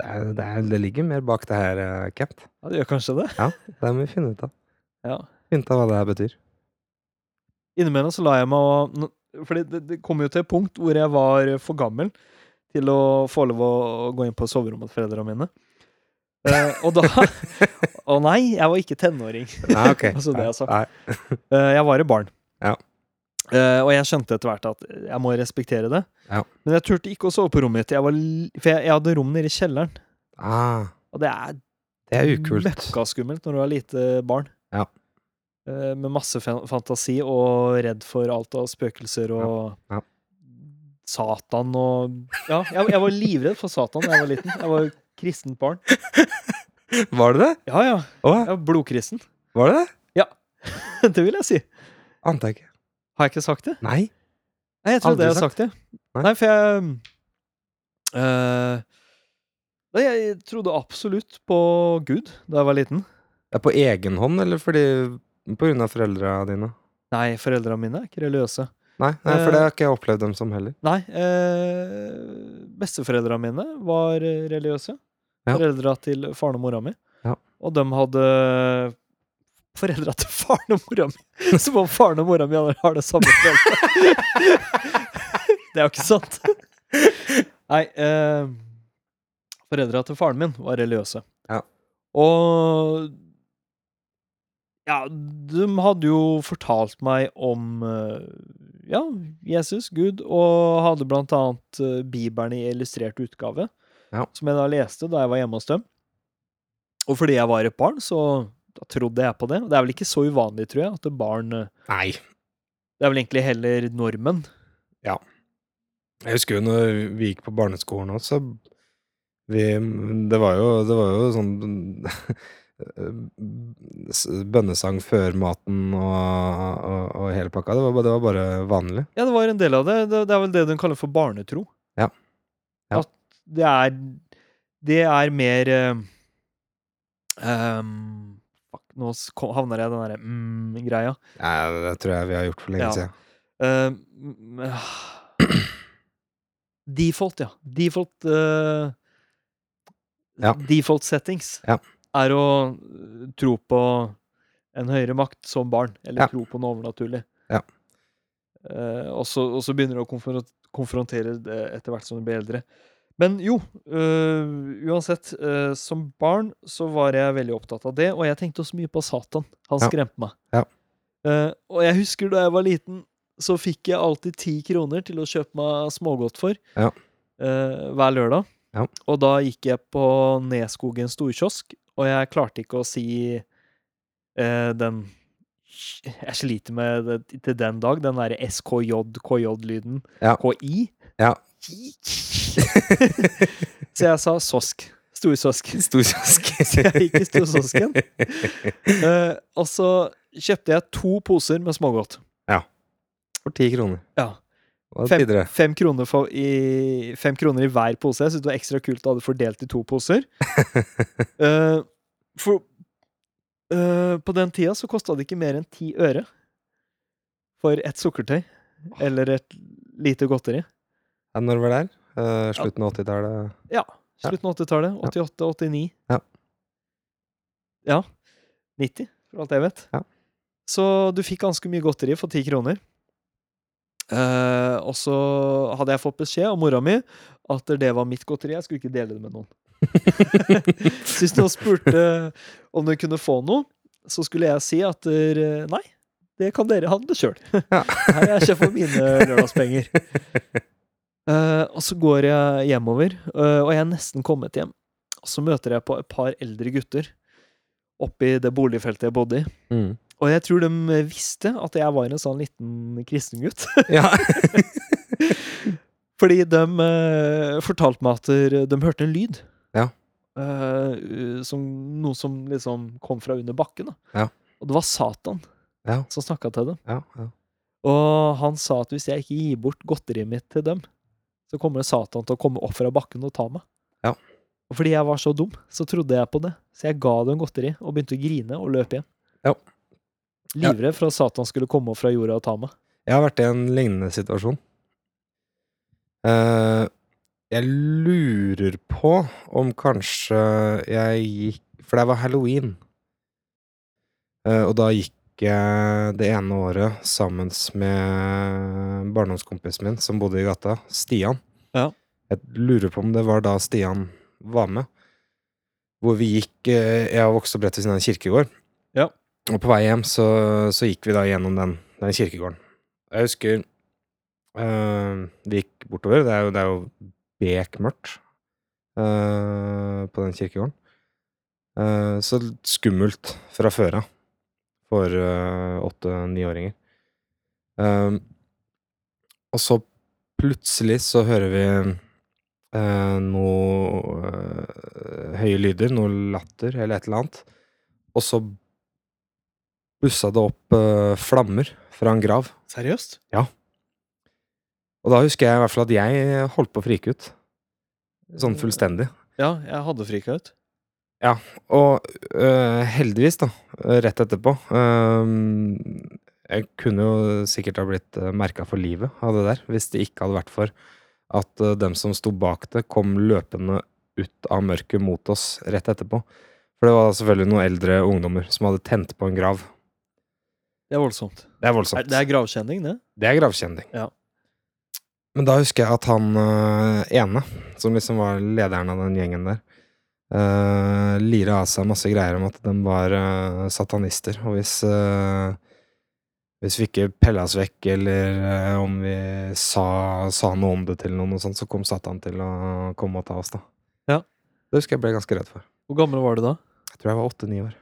Speaker 2: Det, er, det, er, det ligger mer bak det her, eh, Kent.
Speaker 1: Ja, det gjør kanskje det.
Speaker 2: Det må vi finne ut av.
Speaker 1: Ja.
Speaker 2: Finne ut av hva det her betyr.
Speaker 1: Innimellom så la jeg meg å nå- Fordi det, det kom jo til et punkt hvor jeg var for gammel til å få lov å gå inn på soverommet til foreldrene mine. Eh, og da Å nei, jeg var ikke tenåring.
Speaker 2: Nei, Ah, ok.
Speaker 1: Altså, det jeg har sagt.
Speaker 2: Nei,
Speaker 1: Eh, jeg var et barn.
Speaker 2: Ja.
Speaker 1: Eh, og jeg skjønte etter hvert at jeg må respektere det.
Speaker 2: Ja.
Speaker 1: Men jeg turte ikke å sove på rommet mitt, jeg var, l- for jeg, jeg hadde rom nede i kjelleren.
Speaker 2: Ah,
Speaker 1: Og det er
Speaker 2: det er ukult.
Speaker 1: møkkaskummelt når du er lite barn.
Speaker 2: Ja.
Speaker 1: Eh, med masse fan- fantasi og redd for alt av spøkelser og
Speaker 2: Ja, ja.
Speaker 1: Satan og Ja, jeg, jeg var livredd for Satan da jeg var liten. Jeg var jo kristent barn.
Speaker 2: Var det det?
Speaker 1: Ja, ja.
Speaker 2: Å,
Speaker 1: Jeg var blodkristen.
Speaker 2: var det det?
Speaker 1: Det vil jeg si.
Speaker 2: Ante jeg ikke.
Speaker 1: Har jeg ikke sagt det?
Speaker 2: Nei.
Speaker 1: Nei, jeg trodde
Speaker 2: Aldri
Speaker 1: jeg hadde sagt det.
Speaker 2: Nei.
Speaker 1: Nei, for jeg eh, Nei, jeg trodde absolutt på Gud da jeg var liten.
Speaker 2: Ja, på egen hånd, eller fordi På grunn av foreldra dine?
Speaker 1: Nei, foreldra mine er ikke religiøse.
Speaker 2: Nei, nei, for det
Speaker 1: Eh,
Speaker 2: har ikke jeg opplevd dem som heller.
Speaker 1: Nei, eh, besteforeldra mine var eh, religiøse.
Speaker 2: Ja.
Speaker 1: Foreldra til faren og mora mi.
Speaker 2: Ja.
Speaker 1: Og de hadde foreldra til faren og mora mi! Som om faren og mora mi har det samme foreldre. det er jo ikke sant. Nei, eh, foreldra til faren min var religiøse.
Speaker 2: Ja.
Speaker 1: Og ja, de hadde jo fortalt meg om eh, ja, Jesus, Gud, og hadde blant annet eh, Bibelen i illustrert utgave,
Speaker 2: Ja.
Speaker 1: som jeg da leste da jeg var hjemme hos dem. Og fordi jeg var et barn, så da trodde jeg på det. Og det er vel ikke så uvanlig, tror jeg, at barn eh,
Speaker 2: Nei.
Speaker 1: Det er vel egentlig heller normen.
Speaker 2: Jeg husker jo når vi gikk på barneskolen også, vi, det, var jo, det var jo sånn s- Bønnesang før maten og, og, og hele pakka. Det var, bare- det var bare vanlig.
Speaker 1: Ja, det var en del av det. Det, det er vel det de kaller for barnetro.
Speaker 2: Ja. Ja.
Speaker 1: At det er Det er mer eh, ehm, Fuck, nå s- kom- havner jeg i den mm, derre mm-greia.
Speaker 2: Nei, det tror jeg vi har gjort for lenge
Speaker 1: Ja.
Speaker 2: siden.
Speaker 1: Eh, m- eh, default, ja. Default eh,
Speaker 2: Ja.
Speaker 1: Default settings
Speaker 2: Ja.
Speaker 1: er å eh, tro på en høyere makt som barn, eller
Speaker 2: Ja.
Speaker 1: tro på noe overnaturlig.
Speaker 2: Ja.
Speaker 1: Eh, og, så, og så begynner du å konfron- konfrontere det etter hvert som du blir eldre. Men jo, eh, uansett, eh, som barn så var jeg veldig opptatt av det, og jeg tenkte også mye på Satan. Han
Speaker 2: Ja.
Speaker 1: skremte meg.
Speaker 2: Ja.
Speaker 1: Eh, og jeg husker da jeg var liten, så fikk jeg alltid ti kroner til å kjøpe meg smågodt for
Speaker 2: Ja.
Speaker 1: eh, hver lørdag.
Speaker 2: Ja.
Speaker 1: Og da gikk jeg på Neskogen storkiosk, og jeg klarte ikke å si eh, den Jeg sliter med det til den dag, den derre SKJ-KJ-lyden.
Speaker 2: Ja.
Speaker 1: KI.
Speaker 2: Ja.
Speaker 1: så jeg sa sosk. Storsåsk.
Speaker 2: Storkiosk.
Speaker 1: Så jeg gikk i storkiosken. Eh, og så kjøpte jeg to poser med smågodt.
Speaker 2: For ti kroner.
Speaker 1: Ja.
Speaker 2: Og
Speaker 1: Fem-
Speaker 2: tidligere.
Speaker 1: Fem kroner, for, i, fem kroner i hver pose. Jeg syntes det var ekstra kult å ha det fordelt i to poser. Eh, for eh, på den tida så kosta det ikke mer enn ti øre for et sukkertøy eller et lite godteri.
Speaker 2: Ja, når var det her? Eh, slutten av 80-tallet?
Speaker 1: Ja. Slutten av 80-tallet. 88-89.
Speaker 2: Ja.
Speaker 1: ja. 90, for alt jeg vet.
Speaker 2: Ja.
Speaker 1: Så du fikk ganske mye godteri for ti kroner. Eh, og så hadde jeg fått beskjed av mora mi at det var mitt godteri. Jeg skulle ikke dele det med noen. Så hvis noen spurte om de kunne få noe, så skulle jeg si at eh, nei, det kan dere handle sjøl.
Speaker 2: Ja.
Speaker 1: Her er jeg for mine lørdagspenger. Eh, og så går jeg hjemover, eh, og jeg er nesten kommet hjem. Og så møter jeg på et par eldre gutter oppi det boligfeltet jeg bodde i.
Speaker 2: Mm.
Speaker 1: Og jeg tror de visste at jeg var en sånn liten kristen gutt.
Speaker 2: Ja.
Speaker 1: Fordi de eh, fortalte meg at eh, de hørte en lyd.
Speaker 2: Ja.
Speaker 1: Eh, som, noe som liksom kom fra under bakken. Da.
Speaker 2: Ja.
Speaker 1: Og det var Satan
Speaker 2: Ja.
Speaker 1: som snakka til dem.
Speaker 2: ja, ja.
Speaker 1: Og han sa at hvis jeg ikke gir bort godteriet mitt til dem, så kommer Satan til å komme opp fra bakken og ta meg.
Speaker 2: Ja.
Speaker 1: Og fordi jeg var så dum, så trodde jeg på det. Så jeg ga dem godteri og begynte å grine og løpe igjen.
Speaker 2: Ja. Ja.
Speaker 1: Livredd for at Satan skulle komme opp fra jorda og ta meg.
Speaker 2: Jeg har vært i en lignende situasjon. Eh, jeg lurer på om kanskje jeg gikk For det var halloween. Eh, og da gikk jeg det ene året sammen med barndomskompisen min som bodde i gata, Stian.
Speaker 1: Ja.
Speaker 2: Jeg lurer på om det var da Stian var med. Hvor vi gikk eh, Jeg vokste opp rett ved siden av en kirkegård.
Speaker 1: Ja.
Speaker 2: Og på vei hjem så, så gikk vi da gjennom den, den kirkegården. Jeg husker eh, vi gikk bortover. Det er jo, det er jo bekmørkt eh, på den kirkegården. Eh, så skummelt fra før av for eh, åtte-niåringer. Eh, og så plutselig så hører vi eh, noe eh, høye lyder, noe latter eller et eller annet. Og så blussa det opp eh, flammer fra en grav.
Speaker 1: Seriøst?
Speaker 2: Og da husker jeg eh, i hvert fall at jeg holdt på å frike ut. Sånn fullstendig.
Speaker 1: Ja, jeg hadde frika ut.
Speaker 2: Og øh, heldigvis, da, rett etterpå øhm, Jeg kunne jo sikkert ha blitt merka for livet av det der, hvis det ikke hadde vært for at øh, dem som sto bak det, kom løpende ut av mørket mot oss rett etterpå. For det var selvfølgelig noen eldre ungdommer som hadde tent på en grav.
Speaker 1: Det er voldsomt.
Speaker 2: Det er
Speaker 1: Er,
Speaker 2: voldsomt.
Speaker 1: det er gravkjenning, det.
Speaker 2: Det er gravkjending.
Speaker 1: Ja.
Speaker 2: Men da husker jeg at han øh, ene, som liksom var lederen av den gjengen der, uh, lira av seg masse greier om at de var øh, satanister. Og hvis, øh, hvis vi ikke pella oss vekk, eller øh, om vi sa, sa noe om det til noen, og sånt, så kom Satan til å komme og ta oss, da.
Speaker 1: Ja.
Speaker 2: Det husker jeg ble ganske redd for.
Speaker 1: Hvor gammel var du da?
Speaker 2: Jeg tror jeg var åtte-ni år.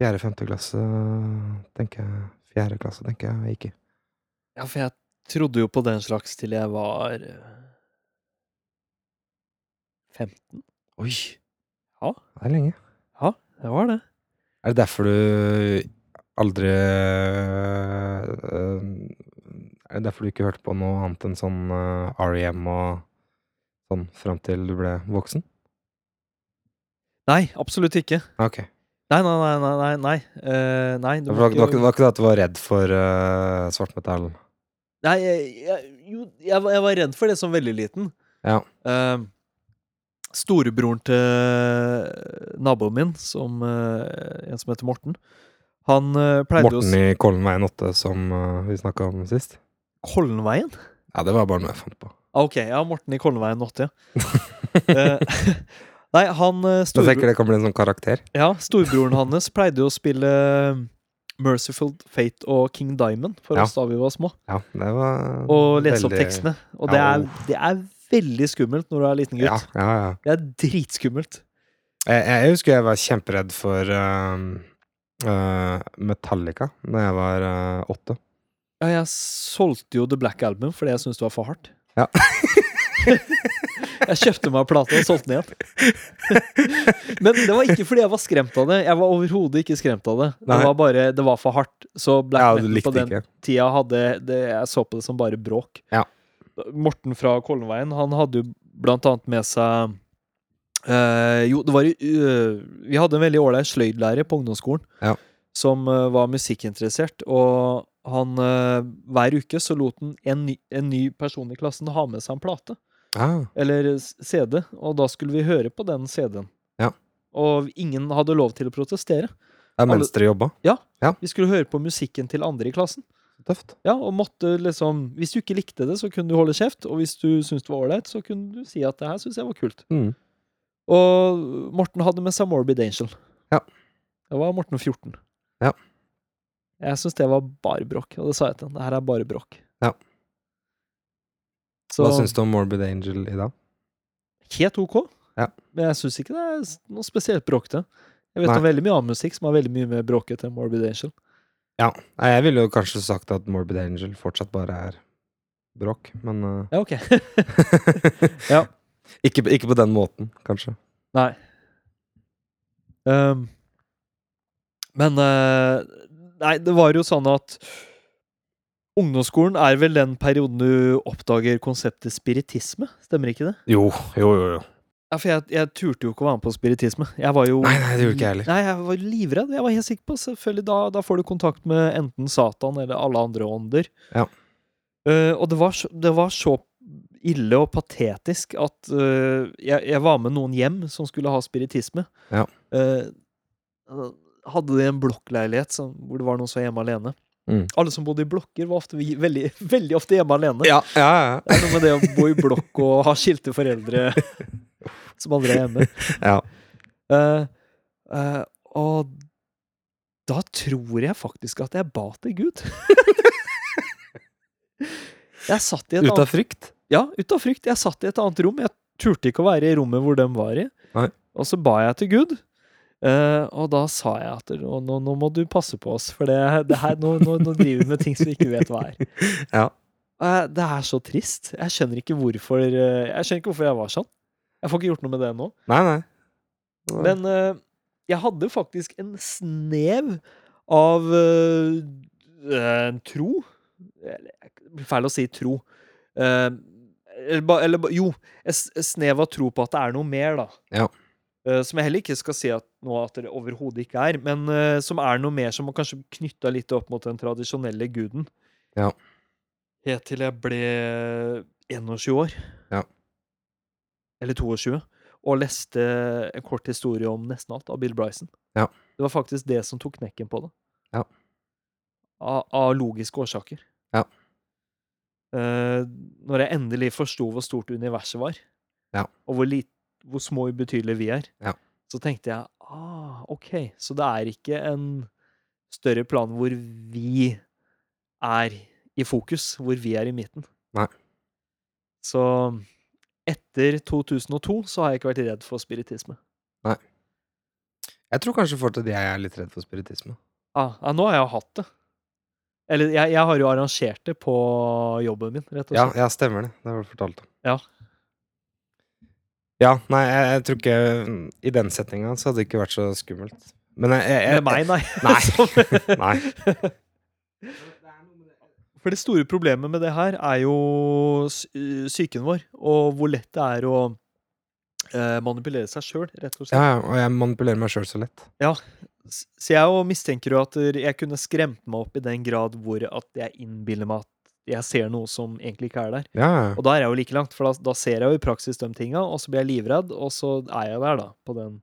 Speaker 2: Fjerde-femte klasse, tenker jeg. Fjerde klasse, tenker jeg. jeg gikk i.
Speaker 1: Ja, for jeg trodde jo på den slags til jeg var eh, 15.
Speaker 2: Oi!
Speaker 1: Ja.
Speaker 2: Det er lenge.
Speaker 1: Ja, det var det.
Speaker 2: Er det derfor du aldri øh, Er det derfor du ikke hørte på noe annet enn sånn øh, REM og sånn fram til du ble voksen?
Speaker 1: Nei, absolutt ikke.
Speaker 2: Ah, Ok.
Speaker 1: Nei, nei, nei, nei. nei, nei. Eh, nei du
Speaker 2: Det
Speaker 1: må
Speaker 2: var, det, var,
Speaker 1: ikke-
Speaker 2: ikke- det var ikke det at du var redd for øh, svartmetall?
Speaker 1: Nei, jeg, jeg, jo, jeg, var- jeg var redd for det som veldig liten.
Speaker 2: Ja.
Speaker 1: Eh, storebroren til naboen min, som, eh, en som heter Morten, han eh, pleide jo å
Speaker 2: Morten
Speaker 1: s-
Speaker 2: i Kollenveien 8, som øh, vi snakka om sist?
Speaker 1: Kollenveien?
Speaker 2: Ja, det var bare noe jeg fant på.
Speaker 1: Ah, ok, ja, Morten i Kollenveien 80, ja. Eh, nei, han eh,
Speaker 2: Jeg
Speaker 1: storebro-
Speaker 2: tenker det kan bli en sånn karakter.
Speaker 1: ja, storebroren hans pleide jo å spille eh, Merciful Fate og King Diamond for
Speaker 2: Ja.
Speaker 1: oss da vi var små.
Speaker 2: Ja, det var
Speaker 1: og lese opp
Speaker 2: veldig-
Speaker 1: tekstene. Og det
Speaker 2: Ja,
Speaker 1: er, det er veldig skummelt når du er liten gutt.
Speaker 2: Ja, ja, ja.
Speaker 1: Det er dritskummelt.
Speaker 2: Jeg, jeg husker jeg var kjemperedd for øhm, øh, Metallica da jeg var øh, åtte.
Speaker 1: Ja, jeg solgte jo The Black Album fordi jeg syntes det var for hardt.
Speaker 2: Ja.
Speaker 1: jeg kjøpte meg plata og solgte den igjen. Men det var ikke fordi jeg var skremt av det. Jeg var overhodet ikke skremt av det. Det
Speaker 2: Nei.
Speaker 1: var bare, det var for hardt. Så Black
Speaker 2: Ja, du
Speaker 1: Metal på
Speaker 2: likte
Speaker 1: den
Speaker 2: ikke.
Speaker 1: tida hadde det, Jeg så på det som bare bråk.
Speaker 2: Ja.
Speaker 1: Morten fra Kollenveien, han hadde jo blant annet med seg eh, Jo, det var i- eh, Vi hadde en veldig ålreit sløydlærer på ungdomsskolen
Speaker 2: Ja.
Speaker 1: som eh, var musikkinteressert, og han eh, Hver uke så lot han en ny, en ny person i klassen ha med seg en plate,
Speaker 2: Ah,
Speaker 1: eller s- CD, og da skulle vi høre på den CD-en.
Speaker 2: Ja.
Speaker 1: Og ingen hadde lov til å protestere.
Speaker 2: det er mens dere jobba.
Speaker 1: Vi skulle høre på musikken til andre i klassen.
Speaker 2: Tøft.
Speaker 1: Ja, og måtte liksom Hvis du ikke likte det, så kunne du holde kjeft, og hvis du syntes det var ålreit, så kunne du si at det her syns jeg var kult.
Speaker 2: Mm.
Speaker 1: Og Morten hadde med seg Morbid Angel.
Speaker 2: Ja.
Speaker 1: Da var Morten 14.
Speaker 2: Ja.
Speaker 1: Jeg syns det var bare bråk, og det sa jeg til han. Det her er bare bråk.
Speaker 2: Ja.
Speaker 1: Så
Speaker 2: Hva syns du om Morbid Angel i dag?
Speaker 1: helt ok,
Speaker 2: Ja.
Speaker 1: men jeg syns ikke det er s- noe spesielt bråkete. Jeg vet
Speaker 2: Nei.
Speaker 1: om veldig mye annen musikk som er veldig mye mer bråkete enn Morbid Angel.
Speaker 2: Ja, nei, jeg ville jo kanskje sagt at Morbid Angel fortsatt bare er bråk, men øh,
Speaker 1: Ja, ok. Ja.
Speaker 2: ikke, ikke på den måten, kanskje.
Speaker 1: Nei. Ehm, men eh, Nei, det var jo sånn at Ungdomsskolen er vel den perioden du oppdager konseptet spiritisme, stemmer ikke det?
Speaker 2: Jo, jo, jo. jo.
Speaker 1: Ja, for jeg, jeg turte jo ikke å være med på spiritisme. Jeg var jo
Speaker 2: Nei, nei, det gjorde ikke jeg heller.
Speaker 1: Nei, jeg var livredd. Jeg var helt sikker på Selvfølgelig, da, da får du kontakt med enten Satan eller alle andre ånder.
Speaker 2: Ja.
Speaker 1: Eh, og det var, så, det var så ille og patetisk at eh, jeg, jeg var med noen hjem som skulle ha spiritisme.
Speaker 2: Ja.
Speaker 1: Eh, hadde de en blokkleilighet som, hvor det var noen som var hjemme alene.
Speaker 2: Mm.
Speaker 1: Alle som bodde i blokker, var ofte, vi- veldig, veldig ofte hjemme alene.
Speaker 2: Ja, ja, ja.
Speaker 1: Det er noe med det å bo i blokk og ha skilte foreldre som aldri er hjemme.
Speaker 2: ja.
Speaker 1: Eh, eh, og da tror jeg faktisk at jeg ba til Gud. jeg satt i et
Speaker 2: Ut av
Speaker 1: annet,
Speaker 2: frykt?
Speaker 1: ja, ut av frykt. Jeg satt i et annet rom. Jeg turte ikke å være i rommet hvor de var i.
Speaker 2: Nei.
Speaker 1: Og så ba jeg til Gud. Eh, og da sa jeg at nå, nå, nå må du passe på oss, for det, det her, nå, nå, nå driver vi med ting som vi ikke vet hva er.
Speaker 2: Ja.
Speaker 1: Eh, det er så trist. Jeg skjønner ikke hvorfor eh, Jeg skjønner ikke hvorfor jeg var sånn. Jeg får ikke gjort noe med det nå.
Speaker 2: Nei, nei. Det var-
Speaker 1: Men eh, jeg hadde faktisk en snev av eh, eh, en tro. Eller, det blir feil å si tro. Eh, eller, ba- eller ba- jo, en s- en snev av tro på at det er noe mer, da.
Speaker 2: Ja.
Speaker 1: eh, som jeg heller ikke skal si at, nå at det overhodet ikke er, men eh, som er noe mer som er kanskje knytta litt opp mot den tradisjonelle guden.
Speaker 2: Ja.
Speaker 1: Helt til jeg ble 21 år.
Speaker 2: Ja.
Speaker 1: Eller 22. Og leste en kort historie om nesten alt av Bill Bryson.
Speaker 2: Ja.
Speaker 1: Det var faktisk det som tok knekken på det.
Speaker 2: Ja.
Speaker 1: Av, av logiske årsaker.
Speaker 2: Ja.
Speaker 1: Eh, når jeg endelig forsto hvor stort universet var,
Speaker 2: Ja.
Speaker 1: og hvor, lit, hvor små og ubetydelige vi er,
Speaker 2: Ja.
Speaker 1: så tenkte jeg ah, OK, så det er ikke en større plan hvor vi er i fokus, hvor vi er i midten.
Speaker 2: Nei.
Speaker 1: Så etter 2002 så har jeg ikke vært redd for spiritisme.
Speaker 2: Jeg tror kanskje fortsatt jeg er litt redd for spiritisme.
Speaker 1: Ah, ja, nå har jeg hatt det. Eller jeg, jeg har jo arrangert det på jobben min, rett og
Speaker 2: Ja,
Speaker 1: slett.
Speaker 2: ja, stemmer det. Det har du fortalt om.
Speaker 1: Ja.
Speaker 2: Ja, nei, jeg, jeg tror ikke mm, I den setninga så hadde det ikke vært så skummelt. Men jeg, jeg,
Speaker 1: Med
Speaker 2: jeg
Speaker 1: meg, nei.
Speaker 2: Nei.
Speaker 1: Som-
Speaker 2: Nei.
Speaker 1: For det store problemet med det her er jo s- øh, psyken vår, og hvor lett det er å eh, manipulere seg sjøl, rett og slett.
Speaker 2: Ja, ja, og jeg manipulerer meg sjøl så lett.
Speaker 1: S- Så jeg jo mistenker jo at der- jeg kunne skremt meg opp i den grad hvor at jeg innbiller meg at jeg ser noe som egentlig ikke er der.
Speaker 2: Ja, ja.
Speaker 1: Og da er jeg jo like langt, for da, da ser jeg jo i praksis de tinga, og så blir jeg livredd, og så er jeg der, da, på den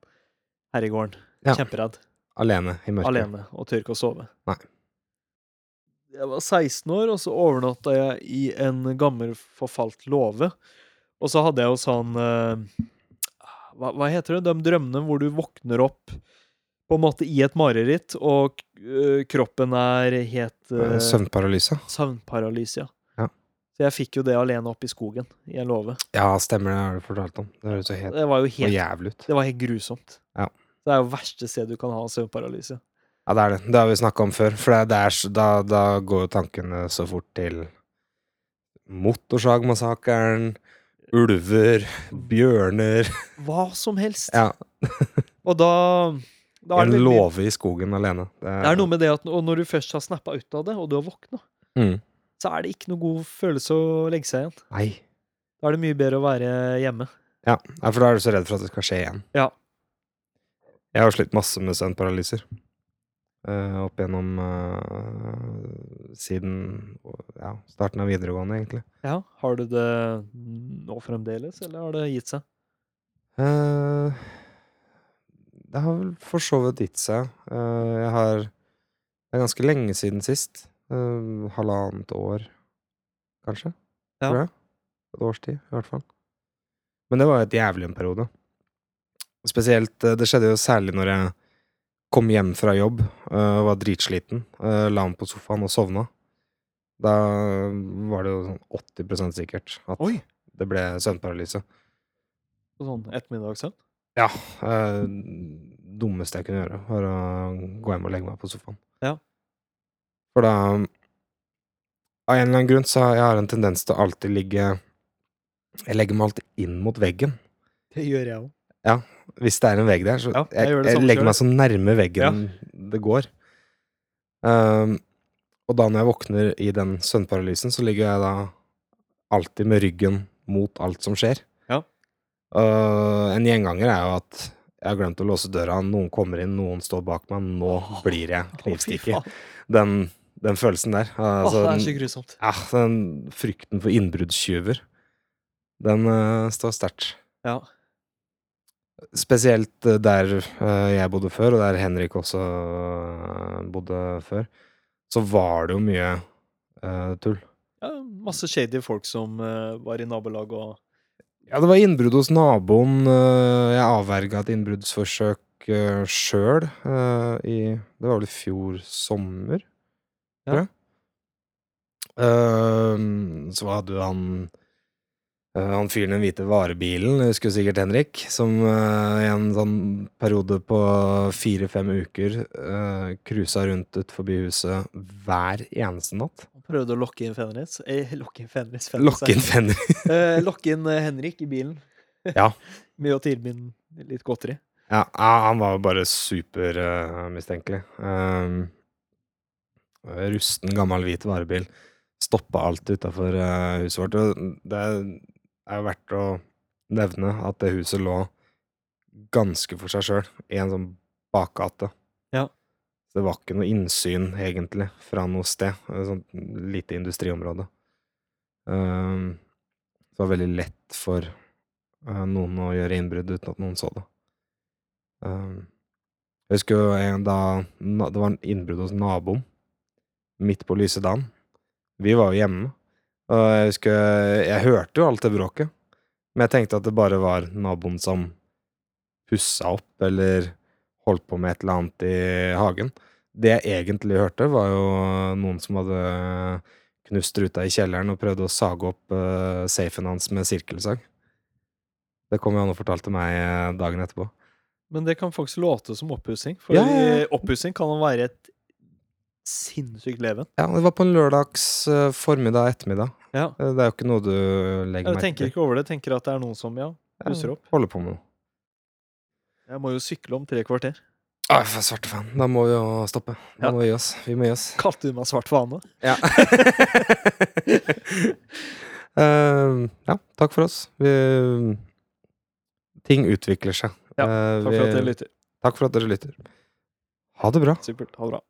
Speaker 1: herregården.
Speaker 2: Ja.
Speaker 1: Kjemperedd.
Speaker 2: Alene i mørket.
Speaker 1: Alene, og tør ikke å sove.
Speaker 2: Nei.
Speaker 1: Jeg var 16 år, og så overnatta jeg i en gammel, forfalt låve. Og så hadde jeg jo sånn eh, hva, hva heter det? De drømmene hvor du våkner opp på en måte i et mareritt, og eh, kroppen er helt
Speaker 2: Eh,
Speaker 1: eh,
Speaker 2: Søvnparalyse.
Speaker 1: søvnparalyse.
Speaker 2: Ja.
Speaker 1: Så jeg fikk jo det alene oppe i skogen, i en låve.
Speaker 2: Ja, stemmer det, det har du fortalt om. Det høres så helt
Speaker 1: Det var jo
Speaker 2: og
Speaker 1: helt,
Speaker 2: jævlig ut.
Speaker 1: det var helt grusomt.
Speaker 2: Ja.
Speaker 1: Det er jo verste sted du kan ha søvnparalyse.
Speaker 2: Ja, det er det. Det har vi snakka om før. For det er- det er, så- da, da går jo tankene så fort til Motorsagmassakren, ulver, bjørner
Speaker 1: Hva som helst.
Speaker 2: Ja,
Speaker 1: Og da, da er
Speaker 2: en
Speaker 1: det veldig
Speaker 2: låve i skogen alene.
Speaker 1: Det er noe med det at og når du først har snappa ut av det, og du har våkna,
Speaker 2: Mm.
Speaker 1: så er det ikke noe god følelse å legge seg igjen.
Speaker 2: Nei.
Speaker 1: Da er det mye bedre å være hjemme.
Speaker 2: Ja, Nei, for da er du så redd for at det skal skje igjen.
Speaker 1: Ja.
Speaker 2: Jeg har slitt masse med søvnparalyser. eh, opp gjennom eh, siden ja, starten av videregående, egentlig.
Speaker 1: Ja, Har du det nå fremdeles, eller har det gitt seg?
Speaker 2: Eh, det har vel for så vidt gitt seg. Eh, jeg har Det er ganske lenge siden sist. Eh, halvannet år, kanskje.
Speaker 1: Ja.
Speaker 2: Tror jeg. Et års tid, i hvert fall. Men det var et jævlig en periode. Spesielt eh, Det skjedde jo særlig når jeg kom hjem fra jobb eh, og var dritsliten. eh, la meg på sofaen og sovna. Da var det jo sånn 80 sikkert at
Speaker 1: Oi.
Speaker 2: det ble søvnparalyse.
Speaker 1: På sånn ettermiddagssøvn?
Speaker 2: Ja. Eh, dummeste jeg kunne gjøre, var å gå hjem og legge meg på sofaen.
Speaker 1: Ja.
Speaker 2: For da Av en eller annen grunn så har jeg har en tendens til å alltid ligge Jeg legger meg alltid inn mot veggen.
Speaker 1: Det gjør jeg òg.
Speaker 2: Hvis det er en vegg der, så
Speaker 1: Ja, jeg
Speaker 2: jeg,
Speaker 1: gjør
Speaker 2: jeg,
Speaker 1: det samme selv.
Speaker 2: legger meg så nærme veggen det går. Ehm, og da når jeg våkner i den søvnparalysen, så ligger jeg da alltid med ryggen mot alt som skjer.
Speaker 1: Ja.
Speaker 2: Eh, en gjenganger er jo at jeg har glemt å låse døra, noen kommer inn, noen står bak meg, nå blir jeg knivstikker. Den, den følelsen der. altså,
Speaker 1: det er
Speaker 2: den-
Speaker 1: så grusomt.
Speaker 2: ja, den frykten for innbruddstyver, den eh, står sterkt.
Speaker 1: Ja.
Speaker 2: Spesielt eh, der eh, jeg bodde før, og der Henrik også eh, bodde før, så var det jo mye eh, tull.
Speaker 1: ja masse shady folk som eh, var i nabolag og
Speaker 2: Ja, det var innbrudd hos naboen. eh, jeg avverga et innbruddsforsøk uh, sjøl eh, i Det var vel i fjor sommer,
Speaker 1: Ja.
Speaker 2: tror jeg. Eh, så hadde jo han eh, han fyren i den hvite varebilen, jeg husker sikkert Henrik, som eh, i en sånn periode på fire-fem uker uh, cruisa rundt ut forbi huset hver eneste natt.
Speaker 1: prøvde å lokke inn Fenris. Eh, lokke inn Fenris, Fenris
Speaker 2: Lokke inn Fenrik.
Speaker 1: Eh, lokke inn eh, Henrik i bilen.
Speaker 2: Ja.
Speaker 1: Med å tilby ham litt godteri.
Speaker 2: Ja, ja, han var jo bare eh, supermistenkelig. Ehm, rusten, gammel, hvit varebil. Stoppa alltid utafor huset vårt. Og det er jo verdt å nevne at det huset lå ganske for seg sjøl, i en sånn bakgate.
Speaker 1: Ja.
Speaker 2: Så det var ikke noe innsyn, egentlig, fra noe sted. Et sånt lite industriområde. Ehm, så det var veldig lett for eh, noen å gjøre innbrudd uten at noen så det. Ehm, jeg husker jo en da na- det var en innbrudd hos naboen, midt på lyse dagen. Vi var jo hjemme, og jeg husker Jeg hørte jo alt det bråket, men jeg tenkte at det bare var naboen som pussa opp eller holdt på med et eller annet i hagen. Det jeg egentlig hørte, var jo noen som hadde knust ruta i kjelleren og prøvde å sage opp eh, safen hans med sirkelsag. Det kom jo han og fortalte meg eh, dagen etterpå.
Speaker 1: Men det kan faktisk låte som oppussing, for
Speaker 2: Ja, ja, ja.
Speaker 1: eh, oppussing kan være et sinnssykt leven.
Speaker 2: Ja, Det var på en lørdags eh, formiddag ettermiddag.
Speaker 1: Ja.
Speaker 2: Eh, Det er jo ikke noe du legger
Speaker 1: Jeg
Speaker 2: merke
Speaker 1: tenker
Speaker 2: til.
Speaker 1: ikke over det. Tenker at det er noen som ja,
Speaker 2: Ja,
Speaker 1: pusser opp.
Speaker 2: Holder på med noe.
Speaker 1: Jeg må jo sykle om tre kvarter.
Speaker 2: Ai, for svarte faen. Da må vi jo stoppe. Da
Speaker 1: Ja.
Speaker 2: må vi gi oss. Vi må gi oss.
Speaker 1: Kalte du meg svart fane?
Speaker 2: Ja. Ehm, ja, takk for oss. Vi, ting utvikler seg.
Speaker 1: Ja,
Speaker 2: Eh,
Speaker 1: Takk for at
Speaker 2: vi-
Speaker 1: dere lytter.
Speaker 2: takk for at dere lytter. Ha det bra.
Speaker 1: Supert. Ha det bra.